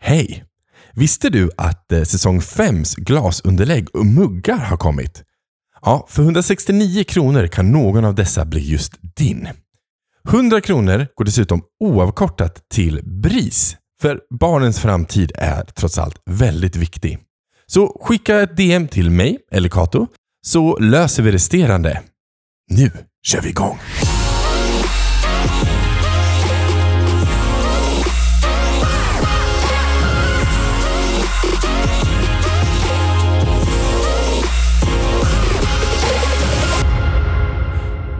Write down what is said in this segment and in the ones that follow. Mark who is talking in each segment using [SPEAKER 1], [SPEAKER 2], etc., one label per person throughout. [SPEAKER 1] Hej! Visste du att eh, säsong 5s glasunderlägg och muggar har kommit? Ja, för 169 kronor kan någon av dessa bli just din. 100 kronor går dessutom oavkortat till BRIS, för barnens framtid är trots allt väldigt viktig. Så skicka ett DM till mig eller Kato, så löser vi resterande. Nu kör vi igång!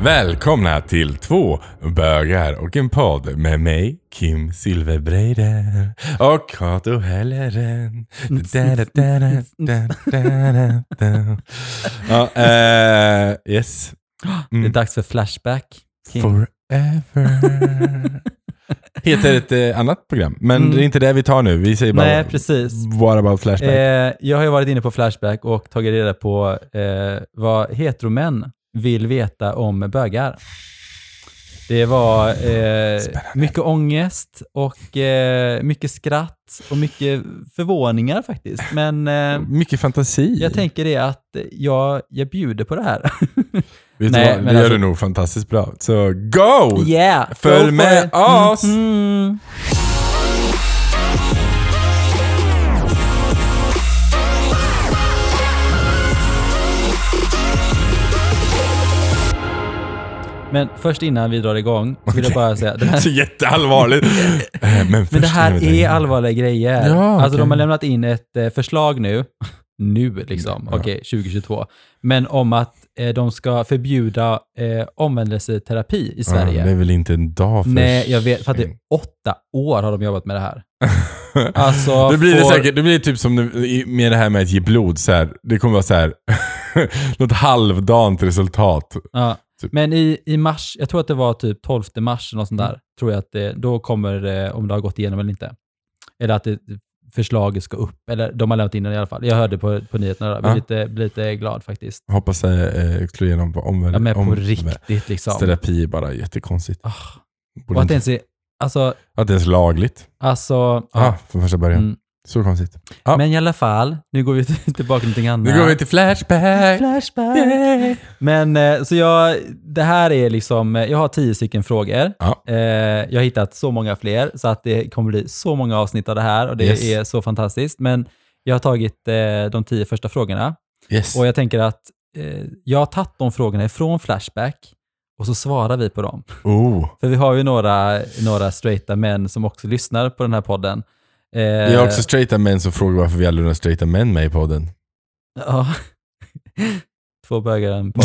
[SPEAKER 1] Välkomna till två bögar och en podd med mig, Kim Silverbreider och Kato Helleren. Ja, eh, yes.
[SPEAKER 2] Det
[SPEAKER 1] Mm.
[SPEAKER 2] är dags för Flashback. Kim.
[SPEAKER 1] Forever. Heter ett eh, annat program, men
[SPEAKER 2] Mm.
[SPEAKER 1] det är inte det vi tar nu. Vi säger bara Mm.
[SPEAKER 2] Nej, precis.
[SPEAKER 1] What about Flashback?
[SPEAKER 2] Eh, jag har ju varit inne på Flashback och tagit reda på eh, vad heteromän vill veta om bögar. Det var eh, mycket ångest och eh, mycket skratt och mycket förvåningar faktiskt. Men eh,
[SPEAKER 1] Mycket fantasi.
[SPEAKER 2] jag tänker det att jag, jag bjuder på det här.
[SPEAKER 1] Vet
[SPEAKER 2] Nej,
[SPEAKER 1] du vad?
[SPEAKER 2] men
[SPEAKER 1] Det gör
[SPEAKER 2] alltså-
[SPEAKER 1] du nog fantastiskt bra. Så go!
[SPEAKER 2] Yeah!
[SPEAKER 1] Följ
[SPEAKER 2] go for
[SPEAKER 1] med
[SPEAKER 2] it.
[SPEAKER 1] oss!
[SPEAKER 2] Mm. Men först innan vi drar igång vill jag bara säga, det här,
[SPEAKER 1] Så jätteallvarligt. Eh, men,
[SPEAKER 2] men det här
[SPEAKER 1] först vill jag
[SPEAKER 2] är
[SPEAKER 1] tänka-
[SPEAKER 2] allvarliga grejer.
[SPEAKER 1] Ja,
[SPEAKER 2] alltså de
[SPEAKER 1] okej.
[SPEAKER 2] har lämnat in ett eh, förslag nu, nu liksom,
[SPEAKER 1] Ja.
[SPEAKER 2] okej 2022, men om att eh, de ska förbjuda eh, omvändelseterapi i Sverige.
[SPEAKER 1] Ja, det är väl inte en dag Mm. för
[SPEAKER 2] Nej, jag vet. För att det är åtta år har de jobbat med det här. Alltså,
[SPEAKER 1] Då blir det
[SPEAKER 2] får-
[SPEAKER 1] säkert, det blir typ som nu- i- med det här med att ge blod. Så här. Det kommer vara så här, något halvdant resultat.
[SPEAKER 2] Ja.
[SPEAKER 1] Typ. Mm.
[SPEAKER 2] Men i, i mars, jag tror att det var typ 12 mars, eller något sånt där, tror jag att det, då kommer det, om det har gått igenom eller inte. Eller att det, förslaget ska upp, eller de har lämnat in det i alla fall. Jag hörde på, på nyheterna, jag blev
[SPEAKER 1] Ja.
[SPEAKER 2] lite, blev lite glad faktiskt.
[SPEAKER 1] Hoppas jag eh, slår igenom på omvärlden.
[SPEAKER 2] Ja, men på
[SPEAKER 1] om,
[SPEAKER 2] riktigt liksom.
[SPEAKER 1] Terapi är bara jättekonstigt.
[SPEAKER 2] Ah,
[SPEAKER 1] Borde
[SPEAKER 2] och att
[SPEAKER 1] inte-
[SPEAKER 2] ens, är- alltså,
[SPEAKER 1] att det ens är lagligt.
[SPEAKER 2] alltså
[SPEAKER 1] Ah, från första början.
[SPEAKER 2] Mm.
[SPEAKER 1] Så konstigt. Ja.
[SPEAKER 2] men i alla fall, nu går vi till- tillbaka till någonting annat.
[SPEAKER 1] Nu går vi till Flashback.
[SPEAKER 2] Flashback. Men eh, så jag, det här är liksom, eh, jag har tio stycken frågor.
[SPEAKER 1] Ja.
[SPEAKER 2] Eh, Jag har hittat så många fler så att det kommer bli så många avsnitt av det här och det
[SPEAKER 1] Yes.
[SPEAKER 2] är så fantastiskt. Men jag har tagit eh, de tio första frågorna
[SPEAKER 1] Yes.
[SPEAKER 2] och jag tänker att eh, jag har tagit de frågorna ifrån Flashback och så svarar vi på dem.
[SPEAKER 1] Oh.
[SPEAKER 2] För vi har ju några, några straighta män som också lyssnar på den här podden. Eh,
[SPEAKER 1] Vi har också straighta män som frågar varför vi aldrig har straighta män med i podden.
[SPEAKER 2] Ja. Två bögar en podd.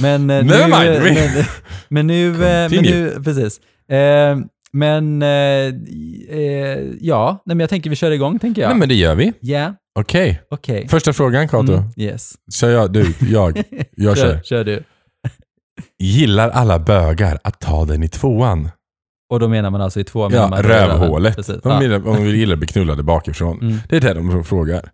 [SPEAKER 2] Men, men, eh,
[SPEAKER 1] Never
[SPEAKER 2] nu,
[SPEAKER 1] mind.
[SPEAKER 2] eh, men, men nu... eh, Men
[SPEAKER 1] Continue.
[SPEAKER 2] nu precis. Eh, Men eh, eh, ja, Nej, men jag tänker vi kör igång tänker jag.
[SPEAKER 1] Nej men det gör vi.
[SPEAKER 2] Ja,
[SPEAKER 1] Okej.
[SPEAKER 2] okej.
[SPEAKER 1] Första frågan Kato.
[SPEAKER 2] Mm, yes.
[SPEAKER 1] Kör jag, du, jag. Jag kör.
[SPEAKER 2] kör du.
[SPEAKER 1] Gillar alla bögar att ta den i tvåan?
[SPEAKER 2] Och då menar man alltså i två
[SPEAKER 1] Ja,
[SPEAKER 2] man
[SPEAKER 1] rövhålet.
[SPEAKER 2] Precis.
[SPEAKER 1] De
[SPEAKER 2] Ja.
[SPEAKER 1] gillar, om vi gillar att bli knullade bakifrån.
[SPEAKER 2] Mm.
[SPEAKER 1] Det är det de frågar.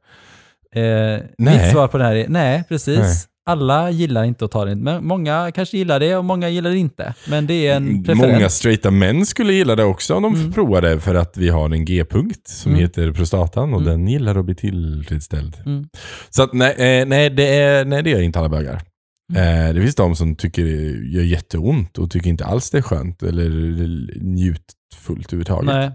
[SPEAKER 2] Eh,
[SPEAKER 1] Nej.
[SPEAKER 2] Mitt svar på det här är nej, precis.
[SPEAKER 1] Nej.
[SPEAKER 2] Alla gillar inte att ta det, men många kanske gillar det och många gillar det inte. Men det är en preferens.
[SPEAKER 1] Många straighta män skulle gilla det också om de
[SPEAKER 2] Mm.
[SPEAKER 1] provade för att vi har en G-punkt som
[SPEAKER 2] Mm.
[SPEAKER 1] heter prostatan och
[SPEAKER 2] Mm.
[SPEAKER 1] den gillar att bli tillfredsställd.
[SPEAKER 2] Mm.
[SPEAKER 1] Så att, nej, eh, nej, det är, nej, det gör inte alla bögar.
[SPEAKER 2] Mm.
[SPEAKER 1] Eh, Det finns de som tycker det gör jätteont och tycker inte alls det är skönt eller njutfullt överhuvudtaget.
[SPEAKER 2] Nej.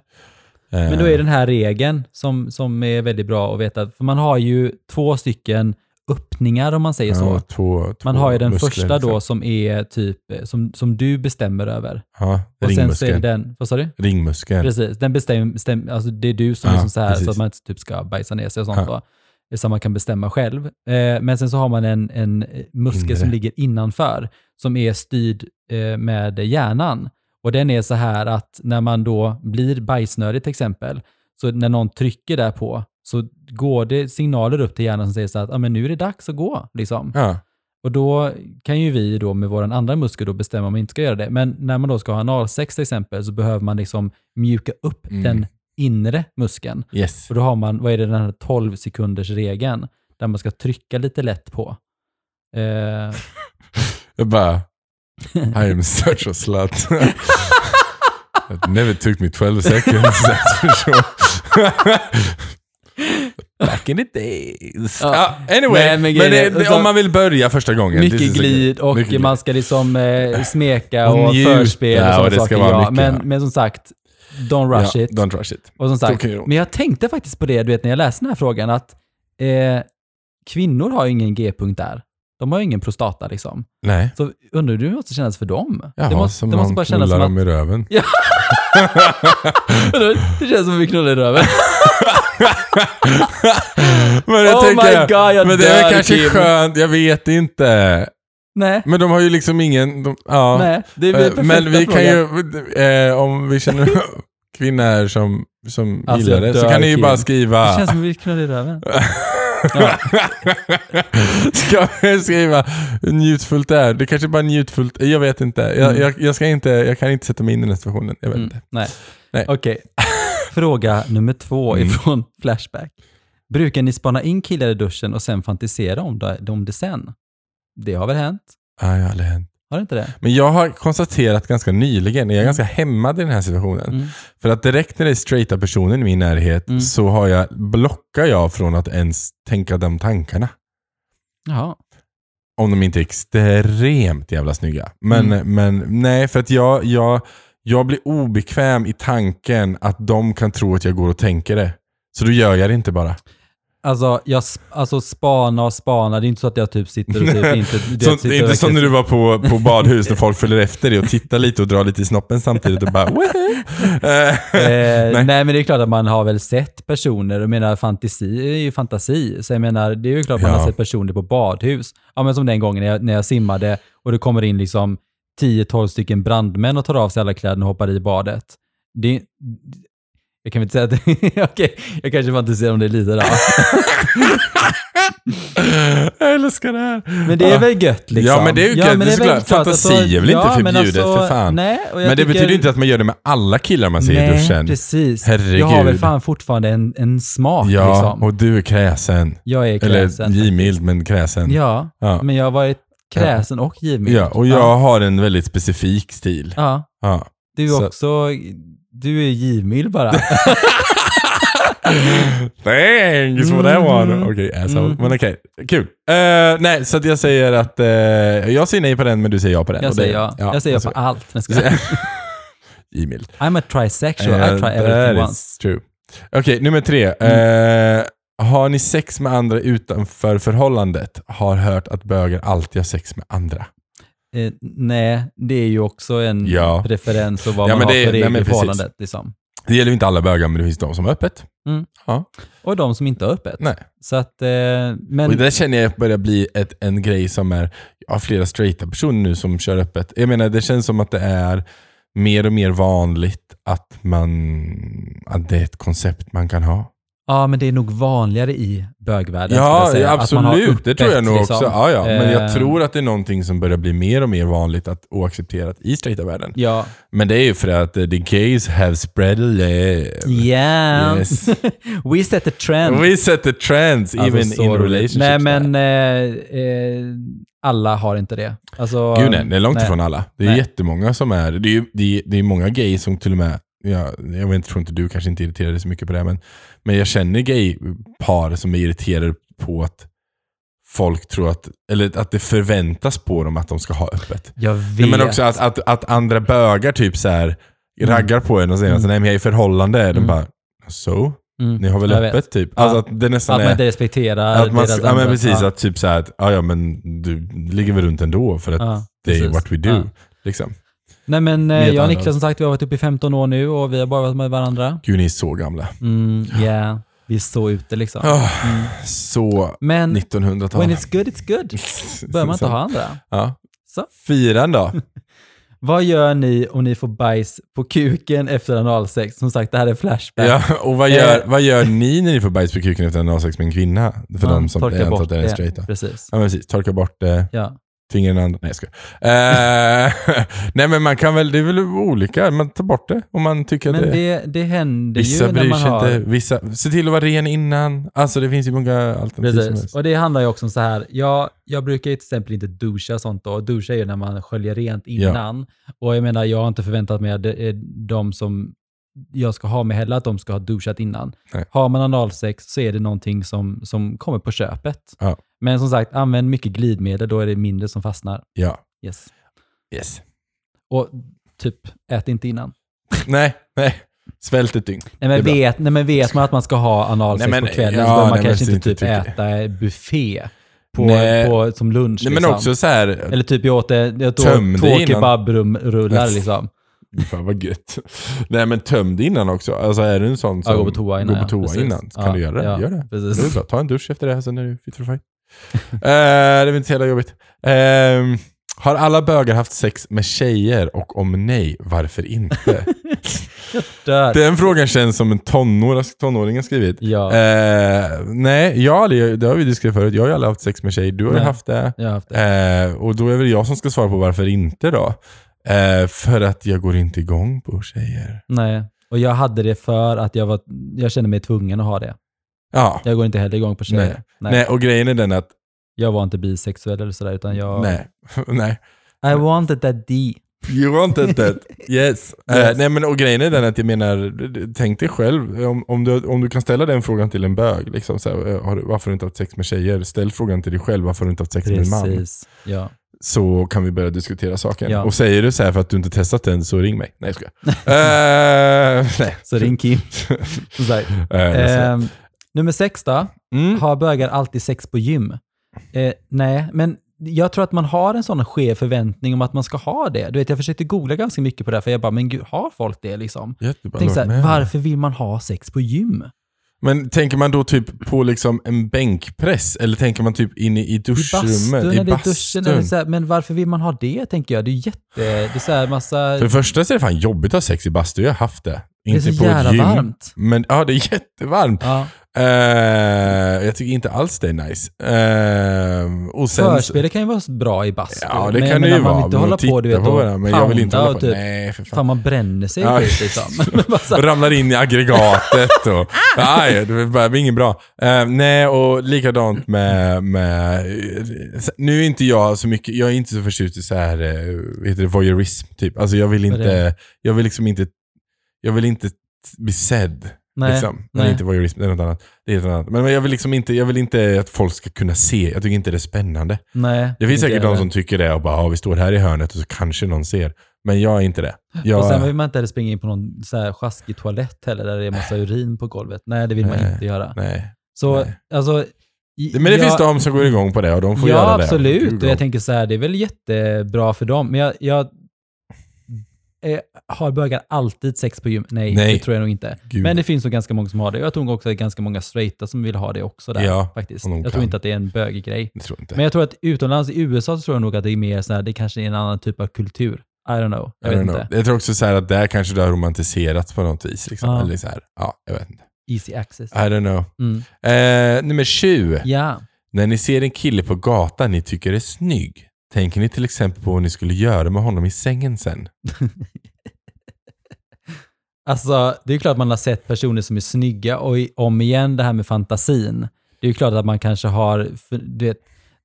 [SPEAKER 2] Men
[SPEAKER 1] Eh.
[SPEAKER 2] då är den här regeln som, som är väldigt bra att veta. För man har ju två stycken öppningar om man säger
[SPEAKER 1] Eh, Ja,
[SPEAKER 2] så.
[SPEAKER 1] två, två
[SPEAKER 2] Man har ju den
[SPEAKER 1] muskler,
[SPEAKER 2] första då
[SPEAKER 1] liksom.
[SPEAKER 2] som är typ som, som du bestämmer över.
[SPEAKER 1] Ja,
[SPEAKER 2] Och sen så är det
[SPEAKER 1] ringmuskeln.
[SPEAKER 2] den, vad sa du?
[SPEAKER 1] Ringmuskeln.
[SPEAKER 2] Precis, den bestäm, bestäm, alltså det är du som
[SPEAKER 1] Ja,
[SPEAKER 2] liksom så här
[SPEAKER 1] precis.
[SPEAKER 2] så att man inte typ ska bajsa ner sig och sånt
[SPEAKER 1] Ja.
[SPEAKER 2] då. Det är Så man kan bestämma själv. Eh, men sen så har man en, en muskel
[SPEAKER 1] Inre.
[SPEAKER 2] som ligger innanför som är styrd eh, med hjärnan. Och den är så här att när man då blir bajsnödig till exempel, så när någon trycker där på så går det signaler upp till hjärnan som säger så att ah, men nu är det dags att gå. Liksom.
[SPEAKER 1] Ja.
[SPEAKER 2] Och då kan ju vi då med vår andra muskel då bestämma om vi inte ska göra det. Men när man då ska ha analsex till exempel så behöver man liksom mjuka upp
[SPEAKER 1] Mm.
[SPEAKER 2] den inre muskeln.
[SPEAKER 1] Yes.
[SPEAKER 2] Och då har man, vad är det, den här 12 sekunders regeln där man ska trycka lite lätt på. Eh,
[SPEAKER 1] Jag bara, I am such a slut. It never took me 12 seconds. that's for sure. Back in the days.
[SPEAKER 2] Ja.
[SPEAKER 1] Ah, anyway,
[SPEAKER 2] Nej, men
[SPEAKER 1] men,
[SPEAKER 2] grejen
[SPEAKER 1] det,
[SPEAKER 2] är-
[SPEAKER 1] det, om man vill börja första gången. this
[SPEAKER 2] Mycket
[SPEAKER 1] is a-
[SPEAKER 2] glid och
[SPEAKER 1] mycket glid.
[SPEAKER 2] man ska liksom eh, smeka
[SPEAKER 1] Och
[SPEAKER 2] och,
[SPEAKER 1] njuta
[SPEAKER 2] förspel och
[SPEAKER 1] och
[SPEAKER 2] sådana
[SPEAKER 1] det ska
[SPEAKER 2] saker.
[SPEAKER 1] vara
[SPEAKER 2] Ja.
[SPEAKER 1] mycket,
[SPEAKER 2] Men,
[SPEAKER 1] ja.
[SPEAKER 2] men som sagt, don't rush
[SPEAKER 1] ja,
[SPEAKER 2] it.
[SPEAKER 1] Don't rush it.
[SPEAKER 2] Och som sagt,
[SPEAKER 1] Tokyo.
[SPEAKER 2] men jag tänkte faktiskt på det du vet, när jag läste den här frågan att eh, kvinnor har ju ingen G-punkt där. De har ju ingen prostata liksom.
[SPEAKER 1] Nej.
[SPEAKER 2] Så undrar du hur det måste kännas för dem?
[SPEAKER 1] Jaha,
[SPEAKER 2] det måste,
[SPEAKER 1] som
[SPEAKER 2] det måste
[SPEAKER 1] man
[SPEAKER 2] bara
[SPEAKER 1] knullar
[SPEAKER 2] kännas som att...
[SPEAKER 1] dem i röven.
[SPEAKER 2] det känns som att vi knullar i röven.
[SPEAKER 1] Men jag
[SPEAKER 2] oh
[SPEAKER 1] tänker,
[SPEAKER 2] my god, jag
[SPEAKER 1] men
[SPEAKER 2] dör
[SPEAKER 1] det är väl kanske
[SPEAKER 2] Kim.
[SPEAKER 1] skönt, jag vet inte.
[SPEAKER 2] Nej,
[SPEAKER 1] Men de har ju liksom ingen... De, ja.
[SPEAKER 2] nej. Det är
[SPEAKER 1] Eh,
[SPEAKER 2] perfekta
[SPEAKER 1] Men vi kan
[SPEAKER 2] frågan.
[SPEAKER 1] ju, eh, om vi känner kvinnor som, som
[SPEAKER 2] Alltså,
[SPEAKER 1] gillar det,
[SPEAKER 2] jag
[SPEAKER 1] så
[SPEAKER 2] dör,
[SPEAKER 1] kan ni ju
[SPEAKER 2] Kim.
[SPEAKER 1] bara
[SPEAKER 2] Det
[SPEAKER 1] skriva...
[SPEAKER 2] känns som att vi knullar i röven.
[SPEAKER 1] Ja. ska jag skriva njutfullt där? Det kanske bara är njutfullt, jag vet inte. Jag,
[SPEAKER 2] Mm.
[SPEAKER 1] jag, jag, ska inte, jag kan inte sätta mig in i den här situationen. Jag vet
[SPEAKER 2] Mm,
[SPEAKER 1] inte.
[SPEAKER 2] nej.
[SPEAKER 1] Nej.
[SPEAKER 2] Okej. Fråga nummer två
[SPEAKER 1] Mm.
[SPEAKER 2] ifrån Flashback. Brukar ni spana in killar i duschen och sen fantisera om det, om det sen? Det har väl hänt?
[SPEAKER 1] Ah, jag har aldrig hänt.
[SPEAKER 2] Har det inte det?
[SPEAKER 1] Men jag har konstaterat ganska nyligen, jag är ganska hämmad i den här situationen.
[SPEAKER 2] Mm.
[SPEAKER 1] För att direkt när det är straighta personer i min närhet
[SPEAKER 2] Mm.
[SPEAKER 1] så har jag, blockar jag från att ens tänka de tankarna.
[SPEAKER 2] Jaha.
[SPEAKER 1] Om de inte är extremt jävla snygga. Men,
[SPEAKER 2] Mm.
[SPEAKER 1] men nej, för att jag, jag, jag blir obekväm i tanken att de kan tro att jag går och tänker det. Så då gör jag det inte bara.
[SPEAKER 2] Alltså, jag, sp- alltså spana och spana. Det är inte så att jag typ sitter och typ inte... du vet,
[SPEAKER 1] Så,
[SPEAKER 2] sitter
[SPEAKER 1] det
[SPEAKER 2] och
[SPEAKER 1] är inte som
[SPEAKER 2] verkligen-
[SPEAKER 1] när du var på, på badhus när folk följer efter dig och tittar lite och drar lite i snoppen samtidigt och bara "Woohoo!" Eh, Nej.
[SPEAKER 2] Eh, nej. men det är klart att man har väl sett personer, jag menar fantasi är ju fantasi. Så jag menar, det är ju klart man
[SPEAKER 1] Ja.
[SPEAKER 2] har sett personer på badhus. Ja men som den gången när jag, när jag simmade och det kommer in liksom 10-12 stycken brandmän och tar av sig alla kläderna och hoppar i badet. Det, jag kan väl inte säga att... Okej, jag kanske fantiserar om det lite då.
[SPEAKER 1] Jag älskar det här. Ah.
[SPEAKER 2] Men det är väl gött liksom?
[SPEAKER 1] Ja, men det är ju gött, det är
[SPEAKER 2] väl alltså,
[SPEAKER 1] såklart. Fantasi är väl inte
[SPEAKER 2] men alltså,
[SPEAKER 1] förbjudet, för fan.
[SPEAKER 2] Nej, och jag
[SPEAKER 1] Men det
[SPEAKER 2] tycker-
[SPEAKER 1] betyder inte att man gör det med alla killar man ser i
[SPEAKER 2] Nej,
[SPEAKER 1] duschen.
[SPEAKER 2] precis.
[SPEAKER 1] Herregud.
[SPEAKER 2] Jag har väl fan fortfarande en, en smak
[SPEAKER 1] Ja,
[SPEAKER 2] liksom.
[SPEAKER 1] och du är kräsen.
[SPEAKER 2] Jag är
[SPEAKER 1] Eller
[SPEAKER 2] kräsen.
[SPEAKER 1] givmild, men kräsen.
[SPEAKER 2] Ja,
[SPEAKER 1] Ja.
[SPEAKER 2] men jag har varit kräsen och givmild.
[SPEAKER 1] Ja, och jag
[SPEAKER 2] ja.
[SPEAKER 1] har en väldigt specifik stil.
[SPEAKER 2] Ja,
[SPEAKER 1] Ja.
[SPEAKER 2] du är
[SPEAKER 1] Så-
[SPEAKER 2] också... Du är givmild bara.
[SPEAKER 1] Thanks for that one. Okej, asshole.
[SPEAKER 2] Mm.
[SPEAKER 1] Men okej, kul. Eh, nej, så att jag säger att eh, jag säger nej på den, men du säger ja alltså, på den.
[SPEAKER 2] Jag
[SPEAKER 1] Och det-
[SPEAKER 2] säger ja. Jag säger ja på allt. Jag ska säga.
[SPEAKER 1] Givmild.
[SPEAKER 2] I'm a trisexual. I
[SPEAKER 1] Eh,
[SPEAKER 2] try
[SPEAKER 1] that
[SPEAKER 2] everything
[SPEAKER 1] is
[SPEAKER 2] once. Mm.
[SPEAKER 1] True. Okej, nummer tre. Eh, har ni sex med andra utanför förhållandet? Har hört att böger alltid har sex med andra.
[SPEAKER 2] Eh, nej, det är ju också en
[SPEAKER 1] Ja.
[SPEAKER 2] referens och vad
[SPEAKER 1] Ja,
[SPEAKER 2] man
[SPEAKER 1] men
[SPEAKER 2] har
[SPEAKER 1] det är-
[SPEAKER 2] för
[SPEAKER 1] nej,
[SPEAKER 2] regler
[SPEAKER 1] men
[SPEAKER 2] i
[SPEAKER 1] precis.
[SPEAKER 2] förhållandet. Liksom.
[SPEAKER 1] Det gäller ju inte alla bögar, men det finns de som har öppet.
[SPEAKER 2] Och de som inte har öppet.
[SPEAKER 1] Nej.
[SPEAKER 2] Så att, eh, men,
[SPEAKER 1] Och det där känner jag börjar bli ett, en grej som är, jag har flera straighta personer nu som kör öppet. Jag menar det känns som att det är mer och mer vanligt att, man, att det är ett koncept man kan ha.
[SPEAKER 2] ja, men det är nog vanligare i bögvärlden. skulle jag
[SPEAKER 1] Ja,
[SPEAKER 2] säga, att man har
[SPEAKER 1] absolut. Det tror jag
[SPEAKER 2] öppet,
[SPEAKER 1] nog
[SPEAKER 2] liksom.
[SPEAKER 1] också. Ja, ja. Men jag
[SPEAKER 2] Eh,
[SPEAKER 1] tror att det är någonting som börjar bli mer och mer vanligt att, och accepterat i straighta världen.
[SPEAKER 2] Ja.
[SPEAKER 1] Men det är ju för att eh, the gays have spread a love.
[SPEAKER 2] Yeah.
[SPEAKER 1] Yes.
[SPEAKER 2] We set the trend.
[SPEAKER 1] We set the trends
[SPEAKER 2] Alltså,
[SPEAKER 1] even
[SPEAKER 2] så
[SPEAKER 1] in
[SPEAKER 2] roligt.
[SPEAKER 1] relationships.
[SPEAKER 2] Nej, men eh, eh, alla har inte det. Alltså,
[SPEAKER 1] Gud nej, det är långt
[SPEAKER 2] nej.
[SPEAKER 1] ifrån alla. Det är
[SPEAKER 2] Nej.
[SPEAKER 1] jättemånga som är, det är, ju- det är, det är många gay som till och med, jag, jag vet, inte, tror inte du kanske inte irriterar dig så mycket på det, men, men jag känner gay-par som är irriterade på att folk tror att, eller att det förväntas på dem att de ska ha öppet.
[SPEAKER 2] Jag vet.
[SPEAKER 1] Nej, men också att, att, att andra bögar typ så här raggar på en och säger
[SPEAKER 2] Mm.
[SPEAKER 1] att nej men jag är i förhållande. De
[SPEAKER 2] Mm.
[SPEAKER 1] bara, så?
[SPEAKER 2] Mm.
[SPEAKER 1] Ni har väl
[SPEAKER 2] Jag
[SPEAKER 1] öppet
[SPEAKER 2] vet.
[SPEAKER 1] typ?
[SPEAKER 2] Ja.
[SPEAKER 1] Alltså att det nästan
[SPEAKER 2] Att man
[SPEAKER 1] är...
[SPEAKER 2] inte respekterar
[SPEAKER 1] Att man,
[SPEAKER 2] deras
[SPEAKER 1] ja men
[SPEAKER 2] andra-
[SPEAKER 1] precis,
[SPEAKER 2] Ja.
[SPEAKER 1] att typ så här, att, ja ja men du ligger väl runt ändå för att
[SPEAKER 2] Ja,
[SPEAKER 1] det är
[SPEAKER 2] precis.
[SPEAKER 1] what we do.
[SPEAKER 2] Ja.
[SPEAKER 1] Liksom.
[SPEAKER 2] Nej, men eh,
[SPEAKER 1] Med
[SPEAKER 2] jag och
[SPEAKER 1] andra
[SPEAKER 2] Niklas som sagt, vi har varit uppe i 15 år nu och vi har bara varit med varandra.
[SPEAKER 1] Gud, ni är så gamla.
[SPEAKER 2] Mm, yeah. Vi står ute liksom.
[SPEAKER 1] Ah, Så
[SPEAKER 2] Men
[SPEAKER 1] 1900-tal.
[SPEAKER 2] when it's good, it's good. Behöver man inte ha andra.
[SPEAKER 1] Ja.
[SPEAKER 2] Så.
[SPEAKER 1] Firan då?
[SPEAKER 2] Vad gör ni om ni får bajs på kuken efter analsex? Som sagt, det här är Flashback.
[SPEAKER 1] ja, och vad gör,
[SPEAKER 2] Eh.
[SPEAKER 1] vad gör ni när ni får bajs på kuken efter en A6 med en kvinna? För
[SPEAKER 2] Man
[SPEAKER 1] de som
[SPEAKER 2] torkar
[SPEAKER 1] jag antar
[SPEAKER 2] bort
[SPEAKER 1] att det är
[SPEAKER 2] det.
[SPEAKER 1] straighta.
[SPEAKER 2] Precis.
[SPEAKER 1] Ja, men precis. Torka bort eh,
[SPEAKER 2] Ja.
[SPEAKER 1] fingrarna. andra- Nej, jag skojar. Eh, nej, men man kan väl, det är väl olika. Man tar bort det om man tycker att
[SPEAKER 2] Men
[SPEAKER 1] det,
[SPEAKER 2] det, det händer
[SPEAKER 1] Vissa
[SPEAKER 2] ju när
[SPEAKER 1] bryr
[SPEAKER 2] man
[SPEAKER 1] sig
[SPEAKER 2] har...
[SPEAKER 1] inte. Vissa, se till att vara ren innan. Alltså det finns ju många alternativ som
[SPEAKER 2] Precis,
[SPEAKER 1] helst.
[SPEAKER 2] och det handlar ju också om så här, jag, jag brukar ju till exempel inte duscha och sånt då. Duscha är ju när man sköljer rent innan. Och jag menar, jag har inte förväntat mig att det är de som jag ska ha med heller att de ska ha duschat innan.
[SPEAKER 1] Nej.
[SPEAKER 2] Har man analsex så är det någonting som, som kommer på köpet.
[SPEAKER 1] Ja.
[SPEAKER 2] Men som sagt, använd mycket glidmedel, då är det mindre som fastnar.
[SPEAKER 1] Ja.
[SPEAKER 2] Yes.
[SPEAKER 1] Yes.
[SPEAKER 2] Och typ, ät inte innan.
[SPEAKER 1] Nej, nej. Svält ett dygn.
[SPEAKER 2] Nej
[SPEAKER 1] Det är
[SPEAKER 2] men,
[SPEAKER 1] bra.
[SPEAKER 2] vet, nej, men vet man att man ska ha analsex
[SPEAKER 1] Nej, men-
[SPEAKER 2] på kvällen
[SPEAKER 1] ja,
[SPEAKER 2] så behöver man
[SPEAKER 1] nej, men
[SPEAKER 2] kanske
[SPEAKER 1] så
[SPEAKER 2] inte
[SPEAKER 1] inte
[SPEAKER 2] typ
[SPEAKER 1] tycker-
[SPEAKER 2] äta buffé på,
[SPEAKER 1] Nej.
[SPEAKER 2] på, som lunch.
[SPEAKER 1] Nej, men
[SPEAKER 2] liksom.
[SPEAKER 1] också så här...
[SPEAKER 2] Eller typ jag åt, jag åt
[SPEAKER 1] Töm
[SPEAKER 2] två
[SPEAKER 1] dig innan.
[SPEAKER 2] kebabrullar liksom.
[SPEAKER 1] Fan vad gött. Nej, men töm dig innan också. Alltså är du en sån som
[SPEAKER 2] Ja, gå på toa innan.
[SPEAKER 1] går på
[SPEAKER 2] ja,
[SPEAKER 1] toa
[SPEAKER 2] precis.
[SPEAKER 1] innan kan
[SPEAKER 2] Ja,
[SPEAKER 1] du göra det.
[SPEAKER 2] ja,
[SPEAKER 1] Gör det. Det är
[SPEAKER 2] Precis.
[SPEAKER 1] bra. Ta en dusch efter det här, sen är du fit for fight. Eh, det är väl inte så jävla jobbigt. Ehm, har alla bögar haft sex med tjejer och om nej, varför inte?
[SPEAKER 2] Dör.
[SPEAKER 1] Den frågan känns som en tonår, alltså, tonåring har skrivit.
[SPEAKER 2] Ja,
[SPEAKER 1] Eh, nej, jag har aldrig, det har vi diskuterat förut. Jag har ju aldrig haft sex med tjejer. Du har ju
[SPEAKER 2] Nej.
[SPEAKER 1] haft det.
[SPEAKER 2] jag har haft det.
[SPEAKER 1] Eh, och då är väl jag som ska svara på varför inte då. Eh, för att jag går inte igång på tjejer.
[SPEAKER 2] Nej. Och jag hade det för att jag, var, jag kände mig tvungen att ha det.
[SPEAKER 1] Ja.
[SPEAKER 2] Jag går inte heller igång på tjejer.
[SPEAKER 1] Nej. Nej. och grejen är den att,
[SPEAKER 2] Jag var inte bisexuell eller sådär, utan jag...
[SPEAKER 1] nej. nej.
[SPEAKER 2] I wanted that D.
[SPEAKER 1] You wanted that. Yes.
[SPEAKER 2] Yes.
[SPEAKER 1] Eh, nej men och grejen är den att jag menar, tänk dig själv, om, om, du, om du kan ställa den frågan till en bög, liksom, så här, eh, har, du- varför har du inte haft sex med tjejer? Ställ frågan till dig själv, varför har du inte haft sex med en man?
[SPEAKER 2] Precis. Ja.
[SPEAKER 1] Så kan vi börja diskutera saken.
[SPEAKER 2] Ja.
[SPEAKER 1] Och säger du så här för att du inte testat den, så ring mig. Nej jag skojar. eh, nej.
[SPEAKER 2] Så ring Kim. Som sagt.
[SPEAKER 1] Eh, jag skojar.
[SPEAKER 2] Ehm, nummer sex då.
[SPEAKER 1] mm.
[SPEAKER 2] Har bögar alltid sex på gym? Eh, nej, men jag tror att man har en sån skev förväntning om att man ska ha det. Du vet, jag försökte googla ganska mycket på det här, för jag bara, men gud, har folk det liksom?
[SPEAKER 1] Jättebra.
[SPEAKER 2] Tänk så här,
[SPEAKER 1] Men-
[SPEAKER 2] varför vill man ha sex på gym?
[SPEAKER 1] Men tänker man då typ på liksom en bänkpress? Eller tänker man typ inne i
[SPEAKER 2] I
[SPEAKER 1] duschrummet?
[SPEAKER 2] bastun eller i duschen? Eller så här, men varför vill man ha det, tänker jag? Det är ju jätte... Det är så här massa...
[SPEAKER 1] För det första så är det fan jobbigt att ha sex i bastu. Jag har haft det.
[SPEAKER 2] Det är
[SPEAKER 1] Inte
[SPEAKER 2] så
[SPEAKER 1] på ett
[SPEAKER 2] jävla
[SPEAKER 1] gym.
[SPEAKER 2] varmt.
[SPEAKER 1] Men ja, det är jättevarmt.
[SPEAKER 2] Ja.
[SPEAKER 1] Eh, jag tycker inte alls det är nice. Eh, och sen,
[SPEAKER 2] Förspelet kan ju vara bra i bastu.
[SPEAKER 1] Ja,
[SPEAKER 2] men
[SPEAKER 1] det
[SPEAKER 2] jag
[SPEAKER 1] kan det
[SPEAKER 2] menar,
[SPEAKER 1] ju
[SPEAKER 2] man vill
[SPEAKER 1] vara.
[SPEAKER 2] inte
[SPEAKER 1] men
[SPEAKER 2] hålla
[SPEAKER 1] att titta
[SPEAKER 2] på, du vet,
[SPEAKER 1] på
[SPEAKER 2] och
[SPEAKER 1] varandra, Men jag vill inte
[SPEAKER 2] pounda
[SPEAKER 1] hålla
[SPEAKER 2] och
[SPEAKER 1] på.
[SPEAKER 2] typ-
[SPEAKER 1] Nej, för fan.
[SPEAKER 2] Fan, man bränner sig
[SPEAKER 1] Ja.
[SPEAKER 2] ja. liksom. Men bara så här,
[SPEAKER 1] Ramlar in i aggregatet och...
[SPEAKER 2] Ah!
[SPEAKER 1] Nej, det blir inget bra. Eh, nej, och likadant med, med... Nu är inte jag så mycket... Jag är inte så förtjust i så här, eh, vad heter det, voyeurism, typ. Alltså jag vill
[SPEAKER 2] Vad är det?
[SPEAKER 1] inte... Jag vill liksom inte... Jag vill inte bli sedd.
[SPEAKER 2] nej.
[SPEAKER 1] liksom. Nej.
[SPEAKER 2] nej.
[SPEAKER 1] inte voyeurism, det är något annat. Det är något annat. Men men jag vill, liksom inte, jag vill inte att folk ska kunna se. Jag tycker inte det är spännande.
[SPEAKER 2] nej.
[SPEAKER 1] Det finns
[SPEAKER 2] inte
[SPEAKER 1] säkert
[SPEAKER 2] jag
[SPEAKER 1] de
[SPEAKER 2] heller.
[SPEAKER 1] som tycker det och bara, ja, vi står här i hörnet och så kanske någon ser. Men jag är inte det. Jag,
[SPEAKER 2] Och sen vill man inte heller springa in på någon så här sjaskig toalett heller, där det är massa urin på golvet. Nej, det vill man
[SPEAKER 1] Nej.
[SPEAKER 2] inte göra.
[SPEAKER 1] nej.
[SPEAKER 2] Så,
[SPEAKER 1] nej.
[SPEAKER 2] alltså... i-
[SPEAKER 1] Men det
[SPEAKER 2] jag-
[SPEAKER 1] finns de som går igång på det och de får
[SPEAKER 2] ja,
[SPEAKER 1] göra det.
[SPEAKER 2] absolut. Och
[SPEAKER 1] Go.
[SPEAKER 2] jag tänker så här, det är väl jättebra för dem. Men jag, jag eh, har bögar alltid sex på gym? Nej,
[SPEAKER 1] Nej.
[SPEAKER 2] det tror jag nog inte.
[SPEAKER 1] Gud.
[SPEAKER 2] Men det finns nog ganska många som har det. Jag tror nog också att det är ganska många straighta som vill ha det också där.
[SPEAKER 1] Ja,
[SPEAKER 2] faktiskt.
[SPEAKER 1] och de
[SPEAKER 2] Jag
[SPEAKER 1] kan.
[SPEAKER 2] tror inte att det är en bögig grej.
[SPEAKER 1] Jag tror inte.
[SPEAKER 2] Men jag tror att utomlands, i USA, så tror jag nog att det är mer så här, det kanske är en annan typ av kultur. I don't know. Jag
[SPEAKER 1] I
[SPEAKER 2] vet
[SPEAKER 1] don't know.
[SPEAKER 2] inte.
[SPEAKER 1] jag tror också så här att där kanske det har romantiserats på något vis. Liksom.
[SPEAKER 2] Ja.
[SPEAKER 1] Eller så här, ja, jag vet inte.
[SPEAKER 2] Easy access.
[SPEAKER 1] I don't know.
[SPEAKER 2] Mm.
[SPEAKER 1] Eh, nummer 20.
[SPEAKER 2] Ja.
[SPEAKER 1] När ni ser en kille på gatan ni tycker är snygg, tänker ni till exempel på vad ni skulle göra med honom i sängen sen?
[SPEAKER 2] Alltså, det är ju klart att man har sett personer som är snygga och i- om igen det här med fantasin. Det är ju klart att man kanske har, för- du vet,